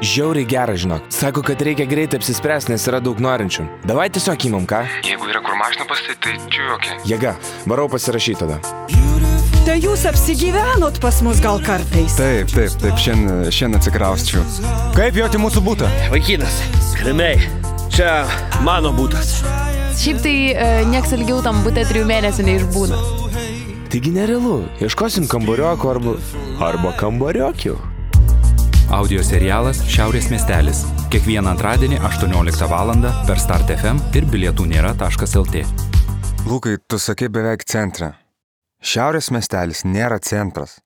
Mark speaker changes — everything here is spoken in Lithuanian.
Speaker 1: Žiauriai gera, žinok. Sako, kad reikia greitai apsispręsti, nes yra daug norinčių. Davai tiesiog įmam ką?
Speaker 2: Jeigu yra kur mašina pastatyti, tai čia jokia.
Speaker 1: Jėga, varau pasirašyti tada.
Speaker 3: Tai jūs apsigyvenot pas mus gal kartais.
Speaker 4: Taip, taip, taip, šiandien, šiandien atsikrausčiau. Kaip jauti mūsų būtą?
Speaker 5: Vaikinas, grinai, čia mano būtas.
Speaker 6: Šiaip tai e, nieks ilgiau tam būtė trijų mėnesių neišbūna.
Speaker 1: Taigi nerealu, ieškosim kambariokų arba... arba kambariokių.
Speaker 7: Audio serialas Šiaurės miestelis. Kiekvieną antradienį 18 val. per Start FM ir bilietų nėra.lt.
Speaker 4: Lūkai, tu sakai beveik centrą. Šiaurės miestelis nėra centras.